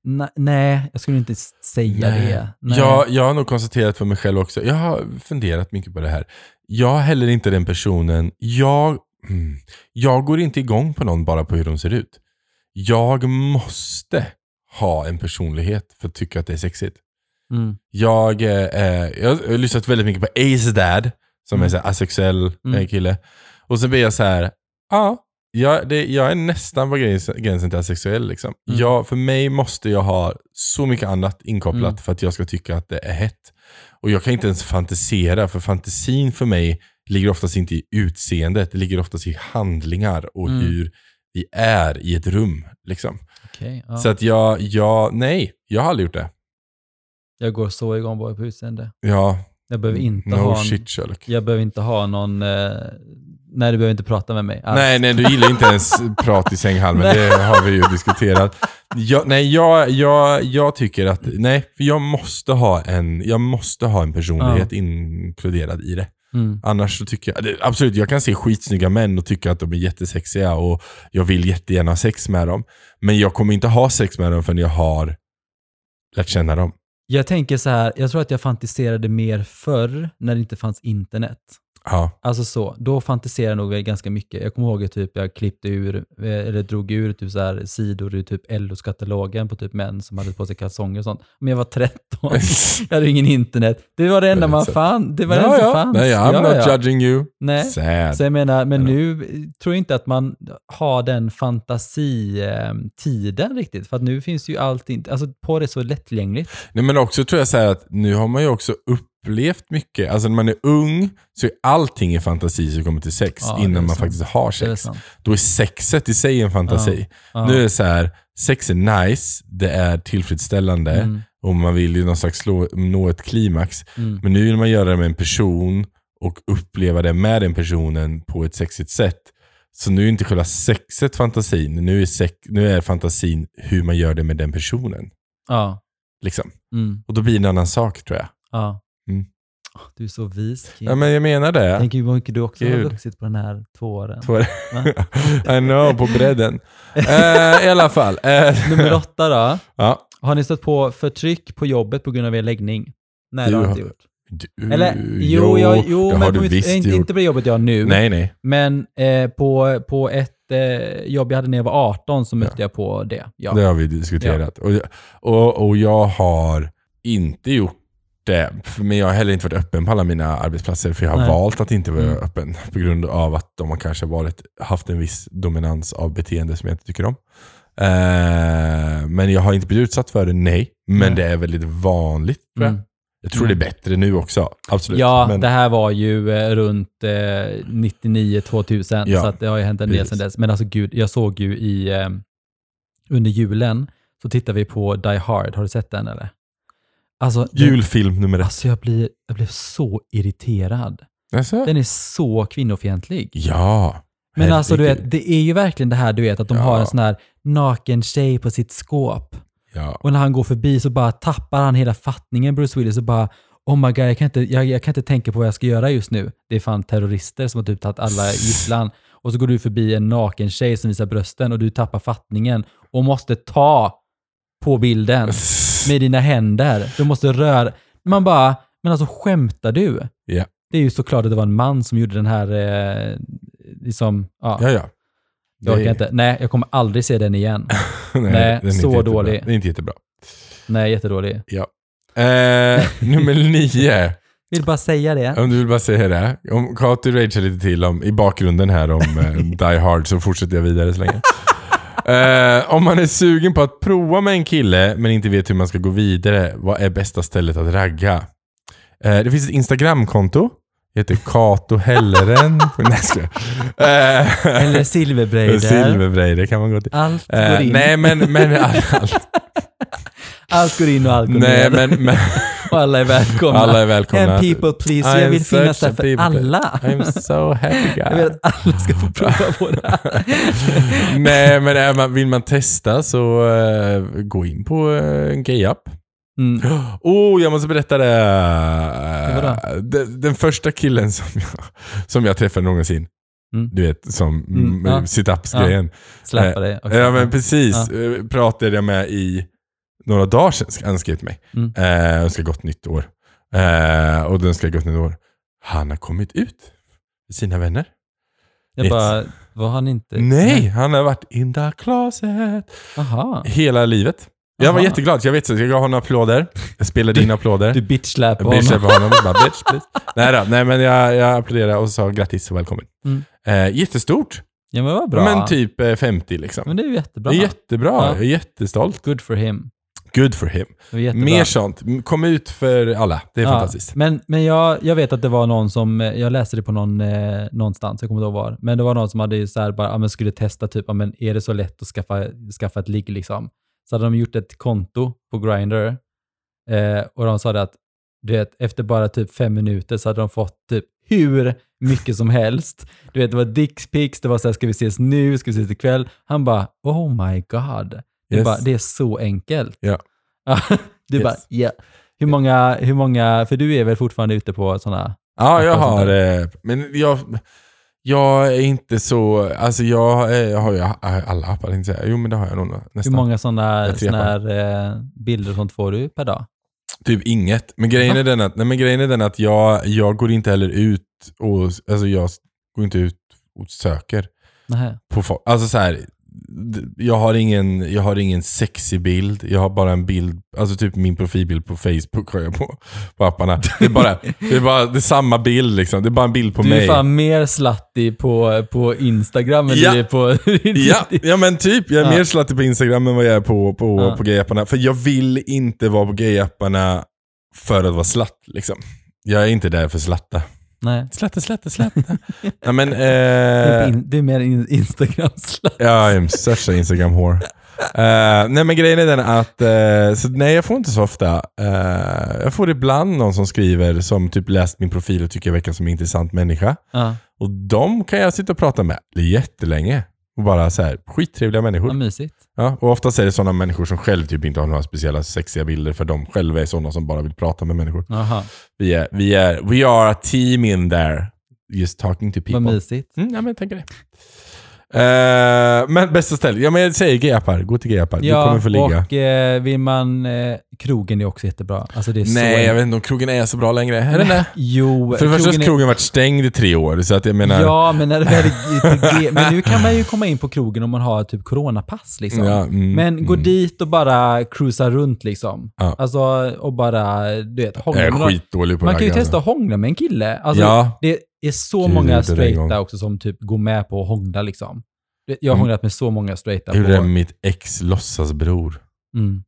[SPEAKER 2] na- nej, jag skulle inte s- säga det. Nej.
[SPEAKER 1] Jag, jag har nog konstaterat för mig själv också, jag har funderat mycket på det här. Jag är heller inte den personen, jag, mm, jag går inte igång på någon bara på hur de ser ut. Jag måste ha en personlighet för att tycka att det är sexigt.
[SPEAKER 2] Mm.
[SPEAKER 1] Jag, eh, eh, jag har lyssnat väldigt mycket på Ace Dad, som
[SPEAKER 2] Mm.
[SPEAKER 1] är en asexuell eh,
[SPEAKER 2] Mm.
[SPEAKER 1] kille. Och så blir jag så här, ja, jag, det, jag är nästan på gränsen, gränsen till asexuell. Liksom.
[SPEAKER 2] Mm.
[SPEAKER 1] Jag, för mig måste jag ha så mycket annat inkopplat
[SPEAKER 2] Mm.
[SPEAKER 1] för att jag ska tycka att det är hett. Och jag kan inte ens fantisera, för fantasin för mig ligger oftast inte i utseendet, det ligger oftast i handlingar och
[SPEAKER 2] Mm.
[SPEAKER 1] hur vi är i ett rum. Liksom.
[SPEAKER 2] Okej, ja.
[SPEAKER 1] Så att jag, jag, nej, jag har aldrig gjort det.
[SPEAKER 2] Jag går så igång bara på utseende.
[SPEAKER 1] Ja,
[SPEAKER 2] Jag behöver inte
[SPEAKER 1] Mm. no
[SPEAKER 2] ha en,
[SPEAKER 1] shit Sherlock.
[SPEAKER 2] jag behöver inte ha någon, eh, nej du behöver inte prata med mig. alls.
[SPEAKER 1] Nej, nej, du gillar inte ens prat i sänghalmen. det har vi ju diskuterat. Jag, nej, jag, jag, jag tycker att, nej, för jag måste ha en, jag måste ha en personlighet inkluderad i det.
[SPEAKER 2] Mm.
[SPEAKER 1] Annars så tycker jag, det- absolut, jag kan se skitsnygga män och tycka att de är jättesexiga och jag vill jättegärna ha sex med dem. Men jag kommer inte ha sex med dem förrän jag har lärt känna dem.
[SPEAKER 2] Jag tänker så här, jag tror att jag fantiserade mer förr när det inte fanns internet.
[SPEAKER 1] Ja.
[SPEAKER 2] Alltså så, då fantiserade jag nog väl ganska mycket. Jag kommer ihåg att typ jag klippte ur, eh, eller drog ur typ så här sidor ur typ LOs katalogen på typ män som hade på sig kalsonger och sånt. Men jag var 13, jag hade ingen internet. Det var det enda man
[SPEAKER 1] Så-
[SPEAKER 2] fann. Det var det
[SPEAKER 1] ja,
[SPEAKER 2] enda som
[SPEAKER 1] ja.
[SPEAKER 2] fanns.
[SPEAKER 1] Nej, I'm
[SPEAKER 2] Ja,
[SPEAKER 1] not
[SPEAKER 2] ja.
[SPEAKER 1] judging you.
[SPEAKER 2] Nej.
[SPEAKER 1] Sad.
[SPEAKER 2] Så jag menar, men
[SPEAKER 1] Eller-
[SPEAKER 2] nu eh, tror jag inte att man har den fantasitiden riktigt. För att nu finns ju allting, alltså porr är så lättillgängligt.
[SPEAKER 1] Nej, men också tror jag så här att nu har man ju också upplevt mycket. Alltså när man är ung så är allting en fantasi som kommer till sex
[SPEAKER 2] Ja, det är
[SPEAKER 1] innan man
[SPEAKER 2] sant.
[SPEAKER 1] faktiskt har
[SPEAKER 2] Det är väl
[SPEAKER 1] sex.
[SPEAKER 2] sant.
[SPEAKER 1] Då är sexet i sig en fantasi.
[SPEAKER 2] Ja.
[SPEAKER 1] Nu är det så här, sex är nice, det är tillfredsställande
[SPEAKER 2] Mm,
[SPEAKER 1] och man vill ju någon slags slå, nå ett klimax.
[SPEAKER 2] mm.
[SPEAKER 1] Men nu vill man göra det med en person och uppleva det med den personen på ett sexigt sätt. Så nu är inte själva sexet fantasin, nu är, sex, nu är fantasin hur man gör det med den personen.
[SPEAKER 2] Ja.
[SPEAKER 1] Liksom.
[SPEAKER 2] Mm,
[SPEAKER 1] Och då blir det en annan sak tror jag.
[SPEAKER 2] ja.
[SPEAKER 1] Mm.
[SPEAKER 2] Åh, Du är så vis, Kim.
[SPEAKER 1] Ja, men jag menar det.
[SPEAKER 2] Tänk hur mycket du också har
[SPEAKER 1] Gud.
[SPEAKER 2] vuxit på den här två åren.
[SPEAKER 1] Två-
[SPEAKER 2] Va?
[SPEAKER 1] I know, på bredden. Eh, I alla fall. Eh,
[SPEAKER 2] Nummer åtta då.
[SPEAKER 1] ja.
[SPEAKER 2] Har ni stött på förtryck på jobbet på grund av er läggning? Nej, det
[SPEAKER 1] Du
[SPEAKER 2] har jag
[SPEAKER 1] har-
[SPEAKER 2] inte gjort.
[SPEAKER 1] Du,
[SPEAKER 2] Eller jo, jag, jo
[SPEAKER 1] det
[SPEAKER 2] men
[SPEAKER 1] har
[SPEAKER 2] jag
[SPEAKER 1] du
[SPEAKER 2] kommer
[SPEAKER 1] visst
[SPEAKER 2] inte,
[SPEAKER 1] gjort.
[SPEAKER 2] inte på det jobbet jag har nu.
[SPEAKER 1] Nej, nej.
[SPEAKER 2] Men eh, på, på ett eh, jobb jag hade när jag var 18 så mötte jag på det. Ja.
[SPEAKER 1] Det har vi diskuterat. Och, och, och jag har inte gjort det. Men jag har heller inte varit öppen på alla mina arbetsplatser. För jag har
[SPEAKER 2] Nej.
[SPEAKER 1] valt att inte vara
[SPEAKER 2] Mm.
[SPEAKER 1] öppen. På grund av att de har kanske varit, haft en viss dominans av beteende som jag inte tycker om. Eh, men jag har inte blivit utsatt för det, nej. Men
[SPEAKER 2] Nej.
[SPEAKER 1] det är väldigt vanligt tror jag.
[SPEAKER 2] Mm.
[SPEAKER 1] Jag tror det är bättre nu också. Absolut.
[SPEAKER 2] Ja,
[SPEAKER 1] men,
[SPEAKER 2] det här var ju eh, runt eh, 99-2000,
[SPEAKER 1] Ja,
[SPEAKER 2] så att det har ju hänt en del
[SPEAKER 1] precis.
[SPEAKER 2] sedan dess. Men alltså gud, jag såg ju i, eh, under julen, så tittade vi på Die Hard. Har du sett den eller? Alltså, den-
[SPEAKER 1] Julfilm nummer ett.
[SPEAKER 2] Alltså jag blir, jag blev så irriterad.
[SPEAKER 1] Alltså?
[SPEAKER 2] Den är så kvinnofientlig.
[SPEAKER 1] Ja.
[SPEAKER 2] Men alltså du
[SPEAKER 1] Herregud.
[SPEAKER 2] vet, det är ju verkligen det här du vet att de
[SPEAKER 1] Ja.
[SPEAKER 2] har en sån här naken tjej på sitt skåp.
[SPEAKER 1] Ja.
[SPEAKER 2] Och när han går förbi så bara tappar han hela fattningen Bruce Willis och bara Oh my god, jag kan, inte, jag, jag kan inte tänka på vad jag ska göra just nu. Det är fan terrorister som har typ tagit alla gisslan. Och så går du förbi en naken tjej som visar brösten och du tappar fattningen och måste ta på bilden med dina händer. Du måste röra. Man bara, men alltså skämtar du?
[SPEAKER 1] Ja.
[SPEAKER 2] Det är ju såklart att det var en man som gjorde den här, eh, liksom, ja,
[SPEAKER 1] Ja, ja.
[SPEAKER 2] jag orkar
[SPEAKER 1] Det-
[SPEAKER 2] inte. Nej, jag kommer aldrig se den igen.
[SPEAKER 1] den är
[SPEAKER 2] så
[SPEAKER 1] inte jättebra.
[SPEAKER 2] dålig.
[SPEAKER 1] Den är inte jättebra.
[SPEAKER 2] Nej, jättedålig.
[SPEAKER 1] Eh, nummer nio.
[SPEAKER 2] Vill bara säga det.
[SPEAKER 1] Om du vill bara säga det. Om Kato ragear lite till om, i bakgrunden här om eh, Die Hard så fortsätter jag vidare så länge. Eh, om man är sugen på att prova med en kille men inte vet hur man ska gå vidare, vad är bästa stället att ragga? Eh, det finns ett Instagramkonto. Det heter Kato Helleren. Nej, jag skojar. Eh,
[SPEAKER 2] Eller silverbrejder.
[SPEAKER 1] Silverbrejder kan man gå till.
[SPEAKER 2] Allt går
[SPEAKER 1] Eh,
[SPEAKER 2] in.
[SPEAKER 1] nej, men... men allt, allt,
[SPEAKER 2] Allt går in och allt går
[SPEAKER 1] nej,
[SPEAKER 2] ner.
[SPEAKER 1] men, men
[SPEAKER 2] Och alla är välkomna.
[SPEAKER 1] alla är välkomna.
[SPEAKER 2] And people please. Jag
[SPEAKER 1] I'm
[SPEAKER 2] vill finnas
[SPEAKER 1] such a
[SPEAKER 2] där för
[SPEAKER 1] people.
[SPEAKER 2] alla.
[SPEAKER 1] I'm so happy
[SPEAKER 2] Jag
[SPEAKER 1] guy.
[SPEAKER 2] vill att alla ska få prova på det här.
[SPEAKER 1] nej, men är man, vill man testa så eh, gå in på eh, en gay-app.
[SPEAKER 2] Mm.
[SPEAKER 1] Oh, jag måste berätta det.
[SPEAKER 2] Eh,
[SPEAKER 1] Eh,
[SPEAKER 2] Vadå?
[SPEAKER 1] Den, den första killen som jag, som jag träffade någonsin.
[SPEAKER 2] Mm.
[SPEAKER 1] Du vet, som
[SPEAKER 2] Mm,
[SPEAKER 1] mm,
[SPEAKER 2] ja.
[SPEAKER 1] sit-ups-grejen.
[SPEAKER 2] Släppa dig. också.
[SPEAKER 1] Ja men precis. Eh, Pratade jag med i några dagar sedan, ska- han skrev till mig.
[SPEAKER 2] Mm.
[SPEAKER 1] Eh, önskar gott nytt år. Eh, och den ska gott nytt år. Han har kommit ut med sina vänner.
[SPEAKER 2] Jag bara, var han inte...
[SPEAKER 1] Nej, han har varit in the closet.
[SPEAKER 2] Jaha.
[SPEAKER 1] Hela livet. Jag var
[SPEAKER 2] Aha.
[SPEAKER 1] jätteglad, jag vet så jag gav honom applåder. Jag spelade in applåder.
[SPEAKER 2] Du bitchsläpade
[SPEAKER 1] Jag bitchade
[SPEAKER 2] honom.
[SPEAKER 1] på honom. Jag Bara, bitch, please. nej, då, nej, men jag, jag applåderade och sa grattis och välkommen.
[SPEAKER 2] Mm.
[SPEAKER 1] Eh, jättestort.
[SPEAKER 2] Ja men vad bra.
[SPEAKER 1] Men typ eh, 50 liksom.
[SPEAKER 2] Men det är ju jättebra.
[SPEAKER 1] Det är jättebra.
[SPEAKER 2] Ja.
[SPEAKER 1] Jag är jättestolt.
[SPEAKER 2] Good for him.
[SPEAKER 1] Good for him.
[SPEAKER 2] Det var jättebra.
[SPEAKER 1] Mer sånt. M- Kom ut för alla. Det är
[SPEAKER 2] Ja,
[SPEAKER 1] fantastiskt.
[SPEAKER 2] Men, men jag, jag vet att det var någon som, eh, jag läste det på någon, eh, någonstans, jag kommer inte ihåg var, men det var någon som hade ju så här bara, ja, men skulle testa typ, ja, men är det så lätt att skaffa, skaffa ett ligg liksom? Så hade de gjort ett konto på Grindr eh, och de sa det att, du vet, efter bara typ fem minuter så hade de fått typ hur mycket som helst. Du vet, det var dickpics, det var så här, ska vi ses nu, ska vi ses ikväll? Han bara, oh my god. Det,
[SPEAKER 1] Yes.
[SPEAKER 2] bara, det är så enkelt.
[SPEAKER 1] Ja.
[SPEAKER 2] du
[SPEAKER 1] Yes.
[SPEAKER 2] bara, ja. Hur många, hur många, för du är väl fortfarande ute på sådana?
[SPEAKER 1] Ja, jag
[SPEAKER 2] Att-
[SPEAKER 1] har... eh, Men jag... Jag är inte så... Alltså jag, eh, jag har ju a- alla appar, tänkte jag säga. Jo, men det har jag nog
[SPEAKER 2] Hur
[SPEAKER 1] nästan.
[SPEAKER 2] många sådana
[SPEAKER 1] Jag trepar.
[SPEAKER 2] såna här, eh, bilder och sånt får du per dag?
[SPEAKER 1] Typ inget. Men grejen är den att, nej, men grejen är den att jag, jag går inte heller ut ut och alltså jag går inte ut och söker
[SPEAKER 2] Nähä.
[SPEAKER 1] på folk. Alltså så här, d- jag har, ingen, jag har ingen sexig bild. Jag har bara en bild, alltså typ min profilbild på Facebook har jag på, på apparna. Det är bara, det är bara det är samma bild liksom. Det är bara en bild på
[SPEAKER 2] Du är
[SPEAKER 1] mig.
[SPEAKER 2] fan mer slattig på, på Instagram än
[SPEAKER 1] Ja.
[SPEAKER 2] du är på...
[SPEAKER 1] Ja, ja men typ. Jag är
[SPEAKER 2] Ja.
[SPEAKER 1] mer slattig på Instagram än vad jag är på, på,
[SPEAKER 2] Ja.
[SPEAKER 1] på gayapparna. För jag vill inte vara på gayapparna för att vara slatt. Liksom. Jag är inte där för slatta.
[SPEAKER 2] Nej.
[SPEAKER 1] Slatta, slatta, slatta. Nej men...
[SPEAKER 2] Du är på
[SPEAKER 1] Eh,
[SPEAKER 2] in- Du är mer in, Instagram-slatt.
[SPEAKER 1] ja, I'm such a instagram whore. Eh, nej men grejen är den att, eh, så, nej jag får inte så ofta. Eh, jag får ibland någon som skriver som typ läst min profil och tycker jag verkar som en intressant människa.
[SPEAKER 2] Ja,
[SPEAKER 1] Och de kan jag sitta och prata med jättelänge. Och bara så här, skittrevliga människor.
[SPEAKER 2] vad mysigt.
[SPEAKER 1] Ja, och oftast är det sådana människor som själv typ inte har några speciella sexiga bilder för de själva är sådana som bara vill prata med människor.
[SPEAKER 2] Aha,
[SPEAKER 1] Vi är, vi är we are a team in there. Just talking to people.
[SPEAKER 2] vad mysigt.
[SPEAKER 1] Mm, ja, men jag tänker det. Eh, men bästa stället. Ja, men jag säger gayapar. Gå till gayapar. du kommer få ligga.
[SPEAKER 2] och eh, vill man... Eh, krogen är också jättebra. Alltså det är
[SPEAKER 1] Nej,
[SPEAKER 2] så...
[SPEAKER 1] jag vet inte om krogen är så bra längre. Är den det?
[SPEAKER 2] Jo,
[SPEAKER 1] För det första har
[SPEAKER 2] är-
[SPEAKER 1] krogen varit stängd i tre år, så att jag menar...
[SPEAKER 2] Ja, men när det väl är GTG. Men nu kan man ju komma in på krogen om man har typ coronapass. Liksom.
[SPEAKER 1] Ja, mm,
[SPEAKER 2] men gå
[SPEAKER 1] mm.
[SPEAKER 2] dit och bara cruisa runt liksom.
[SPEAKER 1] Ja.
[SPEAKER 2] Alltså, och bara, du vet,
[SPEAKER 1] Jag
[SPEAKER 2] hångla
[SPEAKER 1] är
[SPEAKER 2] med någon.
[SPEAKER 1] skitdålig på
[SPEAKER 2] Man
[SPEAKER 1] det
[SPEAKER 2] kan ju
[SPEAKER 1] här,
[SPEAKER 2] testa att hångla med en kille. Alltså,
[SPEAKER 1] Ja.
[SPEAKER 2] Det är så
[SPEAKER 1] Gud, det är
[SPEAKER 2] många
[SPEAKER 1] igång.
[SPEAKER 2] straighta också som typ går med på att hångla liksom. Jag har
[SPEAKER 1] Mm.
[SPEAKER 2] hånglat med så många straighta.
[SPEAKER 1] Jag gjorde det
[SPEAKER 2] på,
[SPEAKER 1] med mitt ex låtsasbror.
[SPEAKER 2] mm,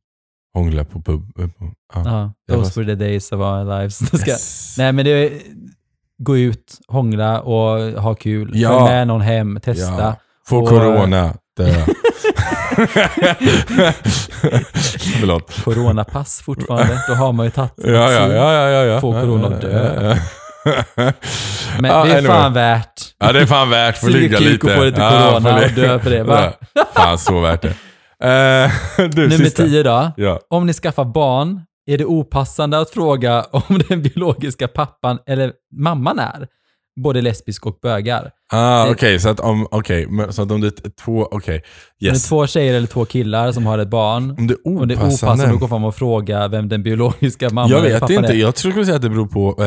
[SPEAKER 1] Hångla på pub. eh, på- ja.
[SPEAKER 2] ja,
[SPEAKER 1] Jag
[SPEAKER 2] those were the days of our lives. Det Ska,
[SPEAKER 1] Yes.
[SPEAKER 2] Nej, men det är, gå ut, hångla och ha kul.
[SPEAKER 1] Ja.
[SPEAKER 2] Följ med någon hem, testa.
[SPEAKER 1] Ja. Få
[SPEAKER 2] Och-
[SPEAKER 1] corona. Dö. Förlåt.
[SPEAKER 2] coronapass fortfarande. Då har man ju tagit
[SPEAKER 1] Ja, ja, ja, ja, ja, ja.
[SPEAKER 2] Få corona och dö. Men
[SPEAKER 1] Ja,
[SPEAKER 2] det är
[SPEAKER 1] anyway.
[SPEAKER 2] fan värt.
[SPEAKER 1] Ja, det är fan värt. Få
[SPEAKER 2] Suga
[SPEAKER 1] ligga
[SPEAKER 2] kuk
[SPEAKER 1] lite.
[SPEAKER 2] och få lite
[SPEAKER 1] Ja,
[SPEAKER 2] corona
[SPEAKER 1] få li-
[SPEAKER 2] och dö för det, va?
[SPEAKER 1] Ja. Fan, så värt det. Eh, du,
[SPEAKER 2] Nummer
[SPEAKER 1] sista.
[SPEAKER 2] 10 då.
[SPEAKER 1] Ja.
[SPEAKER 2] Om ni skaffar barn, är det opassande att fråga om den biologiska pappan eller mamman är? Både lesbisk och bögar.
[SPEAKER 1] Ah,
[SPEAKER 2] Det-
[SPEAKER 1] Okej, så att om, okay, så att om det är två... Okej.
[SPEAKER 2] Om det
[SPEAKER 1] Yes.
[SPEAKER 2] är två tjejer eller två killar som har ett barn,
[SPEAKER 1] Om det är
[SPEAKER 2] och det är
[SPEAKER 1] opassande.
[SPEAKER 2] opassande att gå fram och fråga vem den biologiska mamman
[SPEAKER 1] jag
[SPEAKER 2] eller
[SPEAKER 1] vet
[SPEAKER 2] pappan
[SPEAKER 1] inte.
[SPEAKER 2] är.
[SPEAKER 1] Jag tror jag skulle säga att det beror på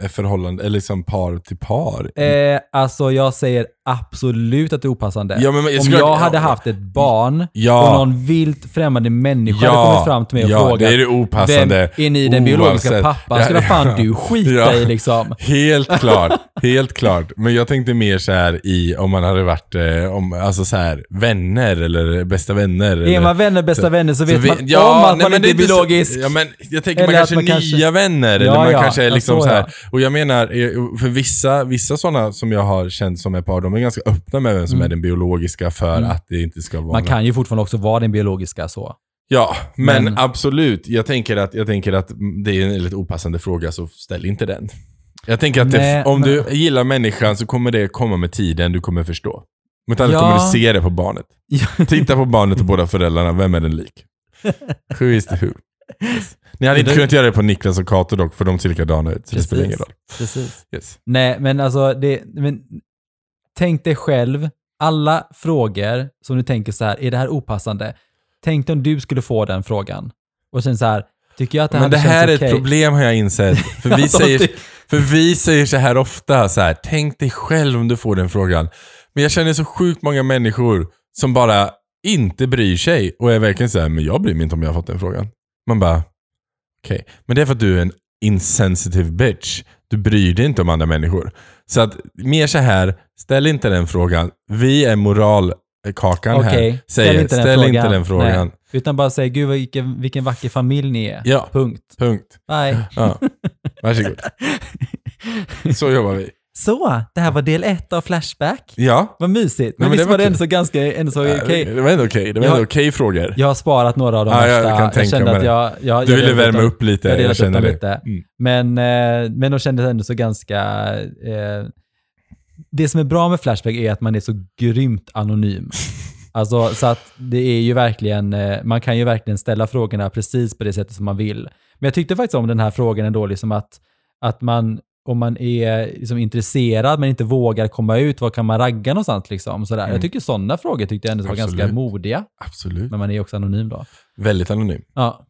[SPEAKER 1] eh, förhållande, eller liksom par till par.
[SPEAKER 2] Eh, alltså jag säger absolut att det är opassande.
[SPEAKER 1] Ja, men jag
[SPEAKER 2] om
[SPEAKER 1] skulle-
[SPEAKER 2] jag hade
[SPEAKER 1] ja.
[SPEAKER 2] haft ett barn
[SPEAKER 1] Ja.
[SPEAKER 2] och någon vilt främmande människa hade kommit fram till mig och
[SPEAKER 1] ja,
[SPEAKER 2] frågat
[SPEAKER 1] det är det opassande.
[SPEAKER 2] Vem är ni den biologiska
[SPEAKER 1] Oavsett.
[SPEAKER 2] pappan? Skulle
[SPEAKER 1] Ja,
[SPEAKER 2] fan
[SPEAKER 1] ja.
[SPEAKER 2] du skita
[SPEAKER 1] Ja.
[SPEAKER 2] i liksom.
[SPEAKER 1] Helt klart, helt klart. Men jag tänkte mer så här i om man hade varit eh, om, alltså så här, vänner eller bästa vänner.
[SPEAKER 2] Är
[SPEAKER 1] eller,
[SPEAKER 2] man vänner, bästa vänner, så vet
[SPEAKER 1] vi-
[SPEAKER 2] man om att
[SPEAKER 1] nej,
[SPEAKER 2] man
[SPEAKER 1] men
[SPEAKER 2] inte
[SPEAKER 1] det
[SPEAKER 2] är
[SPEAKER 1] så-
[SPEAKER 2] biologisk.
[SPEAKER 1] Ja, men jag tänker
[SPEAKER 2] Eller
[SPEAKER 1] man
[SPEAKER 2] att
[SPEAKER 1] kanske
[SPEAKER 2] man
[SPEAKER 1] nya
[SPEAKER 2] kanske-
[SPEAKER 1] vänner. eller
[SPEAKER 2] Ja,
[SPEAKER 1] man
[SPEAKER 2] ja,
[SPEAKER 1] kanske är
[SPEAKER 2] ja,
[SPEAKER 1] liksom
[SPEAKER 2] så,
[SPEAKER 1] så här.
[SPEAKER 2] ja.
[SPEAKER 1] Och jag menar, eh, för vissa, vissa sådana som jag har känt som är par, de är ganska öppna med vem som är den biologiska för att det inte ska vara
[SPEAKER 2] Mm. Man
[SPEAKER 1] någon-
[SPEAKER 2] kan ju fortfarande också vara den biologiska så.
[SPEAKER 1] Ja, men,
[SPEAKER 2] Men-
[SPEAKER 1] absolut. Jag tänker, att, jag tänker att det är en lite opassande fråga, så ställ inte den. Jag tänker att
[SPEAKER 2] Nej,
[SPEAKER 1] det, om
[SPEAKER 2] men-
[SPEAKER 1] du gillar människan så kommer det komma med tiden, du kommer förstå. Men annat
[SPEAKER 2] Ja.
[SPEAKER 1] kommer du se det på barnet.
[SPEAKER 2] Ja.
[SPEAKER 1] Titta på barnet och båda föräldrarna, vem är den lik? Who is the who? Ni hade inte
[SPEAKER 2] Det-
[SPEAKER 1] kunnat göra det på Niklas och Kato dock, för de ser likadana ut. Så det spelar ingen roll.
[SPEAKER 2] Precis.
[SPEAKER 1] Yes.
[SPEAKER 2] Nej, men alltså, det, men, tänk dig själv, alla frågor som du tänker så här, är det här opassande? Tänk dig om du skulle få den frågan. Och sen så här, tycker jag att det här
[SPEAKER 1] Men det
[SPEAKER 2] hade
[SPEAKER 1] här är
[SPEAKER 2] känts
[SPEAKER 1] ett
[SPEAKER 2] okej?
[SPEAKER 1] problem har jag insett. För vi,
[SPEAKER 2] Alltså,
[SPEAKER 1] säger,
[SPEAKER 2] ty-
[SPEAKER 1] för vi säger så här ofta, så här, tänk dig själv om du får den frågan. Men jag känner så sjukt många människor som bara inte bryr sig och är verkligen så här, men jag bryr mig inte om jag har fått den frågan. Man bara, okej. Men det är för att du är en insensitive bitch. Du bryr dig inte om andra människor. Så att mer så här, ställ inte den frågan. Vi är moralkakan här.
[SPEAKER 2] Okej,
[SPEAKER 1] Säger, ställ inte den frågan.
[SPEAKER 2] Nej. Utan bara säg, gud vilken, vilken vacker familj ni är.
[SPEAKER 1] Ja.
[SPEAKER 2] Punkt.
[SPEAKER 1] Punkt.
[SPEAKER 2] Nej.
[SPEAKER 1] Ja. Varsågod. Så jobbar vi.
[SPEAKER 2] Så, det här var del ett av Flashback.
[SPEAKER 1] Ja.
[SPEAKER 2] Vad mysigt. Men,
[SPEAKER 1] Nej, men det
[SPEAKER 2] visst
[SPEAKER 1] var
[SPEAKER 2] var det
[SPEAKER 1] kul.
[SPEAKER 2] ändå så ganska, ändå så okej.
[SPEAKER 1] Det var ändå okej. Det var
[SPEAKER 2] Ja.
[SPEAKER 1] ändå okej frågor.
[SPEAKER 2] Jag har sparat några av de
[SPEAKER 1] Ja, jag
[SPEAKER 2] värsta.
[SPEAKER 1] kan tänka
[SPEAKER 2] kände
[SPEAKER 1] mig
[SPEAKER 2] att
[SPEAKER 1] det.
[SPEAKER 2] jag, jag,
[SPEAKER 1] du ville
[SPEAKER 2] jag delade
[SPEAKER 1] värma
[SPEAKER 2] dem-
[SPEAKER 1] upp lite.
[SPEAKER 2] Jag
[SPEAKER 1] Jag,
[SPEAKER 2] delade upp
[SPEAKER 1] känner
[SPEAKER 2] dem
[SPEAKER 1] det. Mm.
[SPEAKER 2] lite. Men, eh, men de kändes ändå så ganska... Eh, det som är bra med Flashback är att man är så grymt anonym. Alltså, så att det är ju verkligen, eh, man kan ju verkligen ställa frågorna precis på det sättet som man vill. Men jag tyckte faktiskt om den här frågan ändå, liksom att, att man, om man är liksom intresserad men inte vågar komma ut, var kan man ragga någonstans? Liksom, sådär. Jag tycker sådana frågor tyckte jag ändå var ganska
[SPEAKER 1] Mm. Absolut.
[SPEAKER 2] modiga,
[SPEAKER 1] Absolut.
[SPEAKER 2] men man är också anonym då.
[SPEAKER 1] Väldigt anonym.
[SPEAKER 2] Ja.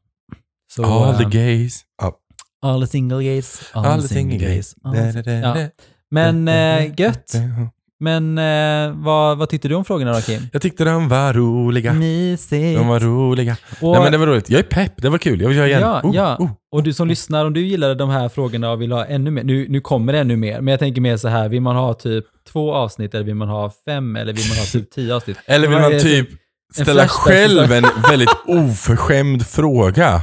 [SPEAKER 2] Så,
[SPEAKER 1] All the
[SPEAKER 2] eh,
[SPEAKER 1] gays.
[SPEAKER 2] All the single gays.
[SPEAKER 1] All the single gays.
[SPEAKER 2] All the- Ja. Men eh, gött. Men eh, vad, vad tyckte du om frågorna då Kim?
[SPEAKER 1] Jag tyckte de var roliga.
[SPEAKER 2] Mysigt.
[SPEAKER 1] De var roliga.
[SPEAKER 2] Mm. Och,
[SPEAKER 1] Nej men det var roligt. Jag är pepp. Det var kul. Jag vill göra igen.
[SPEAKER 2] Ja,
[SPEAKER 1] Oh,
[SPEAKER 2] ja.
[SPEAKER 1] oh.
[SPEAKER 2] och du som lyssnar, om du gillade de här frågorna och vill ha ännu mer, nu, nu kommer det ännu mer, men jag tänker mer så här, vill man ha typ två avsnitt eller vill man ha fem eller vill man ha typ tio avsnitt?
[SPEAKER 1] Eller vill
[SPEAKER 2] Vad är
[SPEAKER 1] man
[SPEAKER 2] det
[SPEAKER 1] typ
[SPEAKER 2] en
[SPEAKER 1] ställa
[SPEAKER 2] flashback till
[SPEAKER 1] själv en väldigt oförskämd fråga?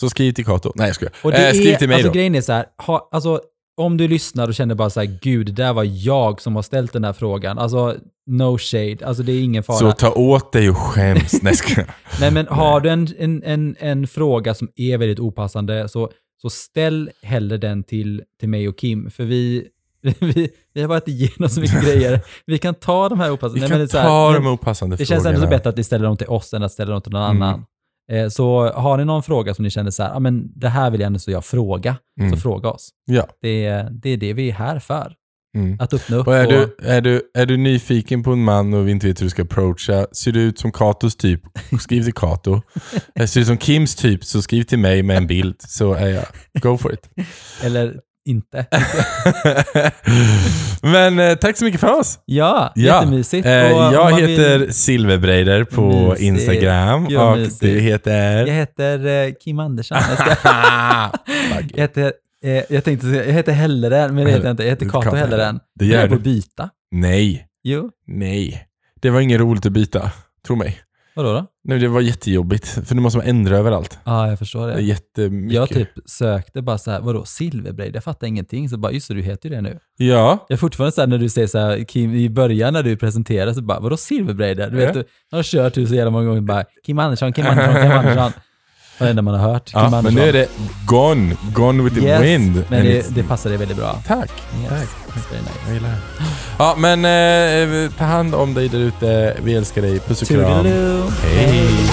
[SPEAKER 1] Så skriv till Kato. Nej jag skojar.
[SPEAKER 2] Och det
[SPEAKER 1] eh, skriv
[SPEAKER 2] är,
[SPEAKER 1] till mig
[SPEAKER 2] alltså,
[SPEAKER 1] då.
[SPEAKER 2] Grejen är så här, ha, alltså, om du lyssnar och känner bara så här, gud, det där var jag som har ställt den här frågan. Alltså, no shade. Alltså det är ingen fara.
[SPEAKER 1] Så ta åt dig och skäms. Nej, jag skojar.
[SPEAKER 2] Nej, men har du en, en, en, en fråga som är väldigt opassande, så, så ställ hellre den till, till mig och Kim, för vi, vi, vi har varit igenom så mycket grejer. Vi kan ta de här opassande.
[SPEAKER 1] Vi
[SPEAKER 2] Nej,
[SPEAKER 1] kan
[SPEAKER 2] men det är så här,
[SPEAKER 1] ta
[SPEAKER 2] men-
[SPEAKER 1] de opassande
[SPEAKER 2] det
[SPEAKER 1] frågorna. Mm.
[SPEAKER 2] känns ändå så bättre att ni ställer dem till oss än att ställa dem till någon annan. Eh, Så har ni någon fråga som ni känner så här, "Ah, men det här vill jag ändå så jag fråga,
[SPEAKER 1] Mm.
[SPEAKER 2] så fråga oss.
[SPEAKER 1] Ja.
[SPEAKER 2] Det, är- det är det vi är här för.
[SPEAKER 1] Mm.
[SPEAKER 2] Att öppna upp
[SPEAKER 1] Och är,
[SPEAKER 2] och-
[SPEAKER 1] du, är, du, är du nyfiken på en man och inte vet hur du ska approacha, ser du ut som Katos typ, skriv till Kato. Eh, Ser du ut som Kims typ, så skriv till mig med en bild, så är jag, go for it.
[SPEAKER 2] eller inte.
[SPEAKER 1] Men eh, tack så mycket för oss.
[SPEAKER 2] Ja,
[SPEAKER 1] Ja.
[SPEAKER 2] jättemysigt.
[SPEAKER 1] Eh,
[SPEAKER 2] Och om
[SPEAKER 1] jag
[SPEAKER 2] man vill-
[SPEAKER 1] heter Silverbreider på
[SPEAKER 2] Mysigt.
[SPEAKER 1] Instagram
[SPEAKER 2] Gud, vad
[SPEAKER 1] och
[SPEAKER 2] mysigt.
[SPEAKER 1] du
[SPEAKER 2] jag
[SPEAKER 1] heter...
[SPEAKER 2] heter eh, Kim Andersson. Jag, ska, jag, heter, eh, jag tänkte säga, jag heter Helleren, men det heter jag inte. Jag
[SPEAKER 1] Du
[SPEAKER 2] heter
[SPEAKER 1] heter Kato
[SPEAKER 2] Kato Helleren.
[SPEAKER 1] Det
[SPEAKER 2] Jag
[SPEAKER 1] gör
[SPEAKER 2] på att
[SPEAKER 1] du.
[SPEAKER 2] byta.
[SPEAKER 1] Nej,
[SPEAKER 2] Jo,
[SPEAKER 1] nej. Det var inget roligt att byta, tro mig.
[SPEAKER 2] vadå då?
[SPEAKER 1] Nej, det var jättejobbigt, för nu måste man ändra överallt.
[SPEAKER 2] Ja, jag förstår
[SPEAKER 1] Det är
[SPEAKER 2] det.
[SPEAKER 1] jättemycket.
[SPEAKER 2] Jag typ sökte bara så här, vadå silverbrejd? Jag fattar ingenting. Så bara, just det, du heter ju det nu.
[SPEAKER 1] Ja.
[SPEAKER 2] Jag är fortfarande så här när du säger så här, Kim, i början när du presenterar så bara, vadå silverbrejd? Du vet,
[SPEAKER 1] Ja.
[SPEAKER 2] du har kört hur så jävla många gånger bara, Kim Andersson, Kim Andersson, Kim Andersson. Det enda man har hört. Kim
[SPEAKER 1] Ja,
[SPEAKER 2] Andersson.
[SPEAKER 1] men nu är det gone, gone with the
[SPEAKER 2] yes,
[SPEAKER 1] wind.
[SPEAKER 2] Men
[SPEAKER 1] And
[SPEAKER 2] det,
[SPEAKER 1] it's-
[SPEAKER 2] det passar dig väldigt bra.
[SPEAKER 1] Tack.
[SPEAKER 2] Yes,
[SPEAKER 1] Tack.
[SPEAKER 2] it's very nice.
[SPEAKER 1] Jag gillar det. Ja, men eh, ta hand om dig där ute. Vi älskar dig. Puss och kram.
[SPEAKER 2] Toodaloo.
[SPEAKER 1] Hej.